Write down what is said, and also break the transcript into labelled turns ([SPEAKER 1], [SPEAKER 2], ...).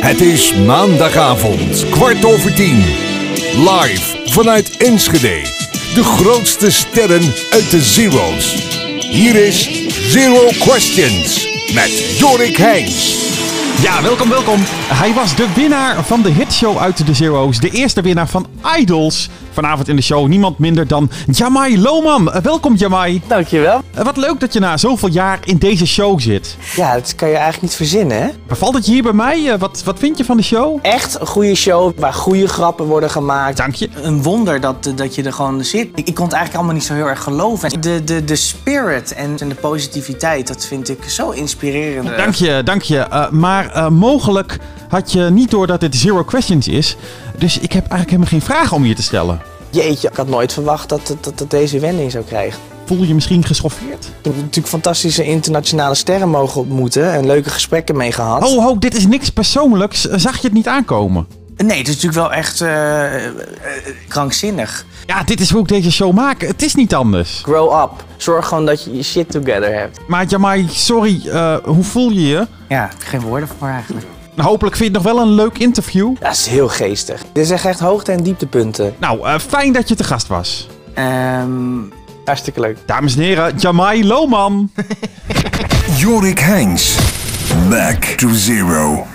[SPEAKER 1] Het is maandagavond, kwart over tien. Live vanuit Enschede. De grootste sterren uit de Zero's. Hier is Zero Questions met Jorik Heijns.
[SPEAKER 2] Ja, welkom, welkom. Hij was de winnaar van de hitshow uit de Zero's. De eerste winnaar van Idols. Vanavond in de show niemand minder dan Jamai Lohman. Eh, Welkom Jamai.
[SPEAKER 3] Dankjewel.
[SPEAKER 2] Eh, Wat leuk dat je na zoveel jaar in deze show zit.
[SPEAKER 3] Ja, dat kan je eigenlijk niet verzinnen, hè?
[SPEAKER 2] Bevalt het je hier bij mij? Eh, Wat, wat vind je van de show?
[SPEAKER 3] Echt een goede show waar goede grappen worden gemaakt.
[SPEAKER 2] Dank je.
[SPEAKER 3] Een wonder dat, eh, dat je er gewoon zit. Ik, ik kon het eigenlijk allemaal niet zo heel erg geloven. De, de, de spirit en, en de positiviteit, dat vind ik zo inspirerend.
[SPEAKER 2] Dank je, dank je. Eh, maar eh, mogelijk had je niet door dat dit Zero Questions is. Dus ik heb eigenlijk helemaal geen vragen om je te stellen.
[SPEAKER 3] Jeetje, ik had nooit verwacht dat, dat, dat, dat deze wending zou krijgen.
[SPEAKER 2] Voel je misschien geschoffeerd?
[SPEAKER 3] Ik heb natuurlijk fantastische internationale sterren mogen ontmoeten en leuke gesprekken mee gehad.
[SPEAKER 2] Oh, ho, dit is niks persoonlijks. Eh, Zag je het niet aankomen?
[SPEAKER 3] Nee, het is natuurlijk wel echt eh, eh, krankzinnig.
[SPEAKER 2] Ja, dit is hoe ik deze show maak. Het is niet anders.
[SPEAKER 3] Grow up. Zorg gewoon dat je je shit together hebt.
[SPEAKER 2] Maar Jamai, sorry, eh, hoe voel je je?
[SPEAKER 3] Ja, geen woorden voor eigenlijk.
[SPEAKER 2] Hopelijk vind je het nog wel een leuk interview.
[SPEAKER 3] Dat is heel geestig. Dit zijn echt hoogte- en dieptepunten.
[SPEAKER 2] Nou, eh, fijn dat je te gast was.
[SPEAKER 3] Ehm Hartstikke leuk.
[SPEAKER 2] Dames en heren, Jamai Lohman.
[SPEAKER 1] Jorik Heijns. Back to Zero.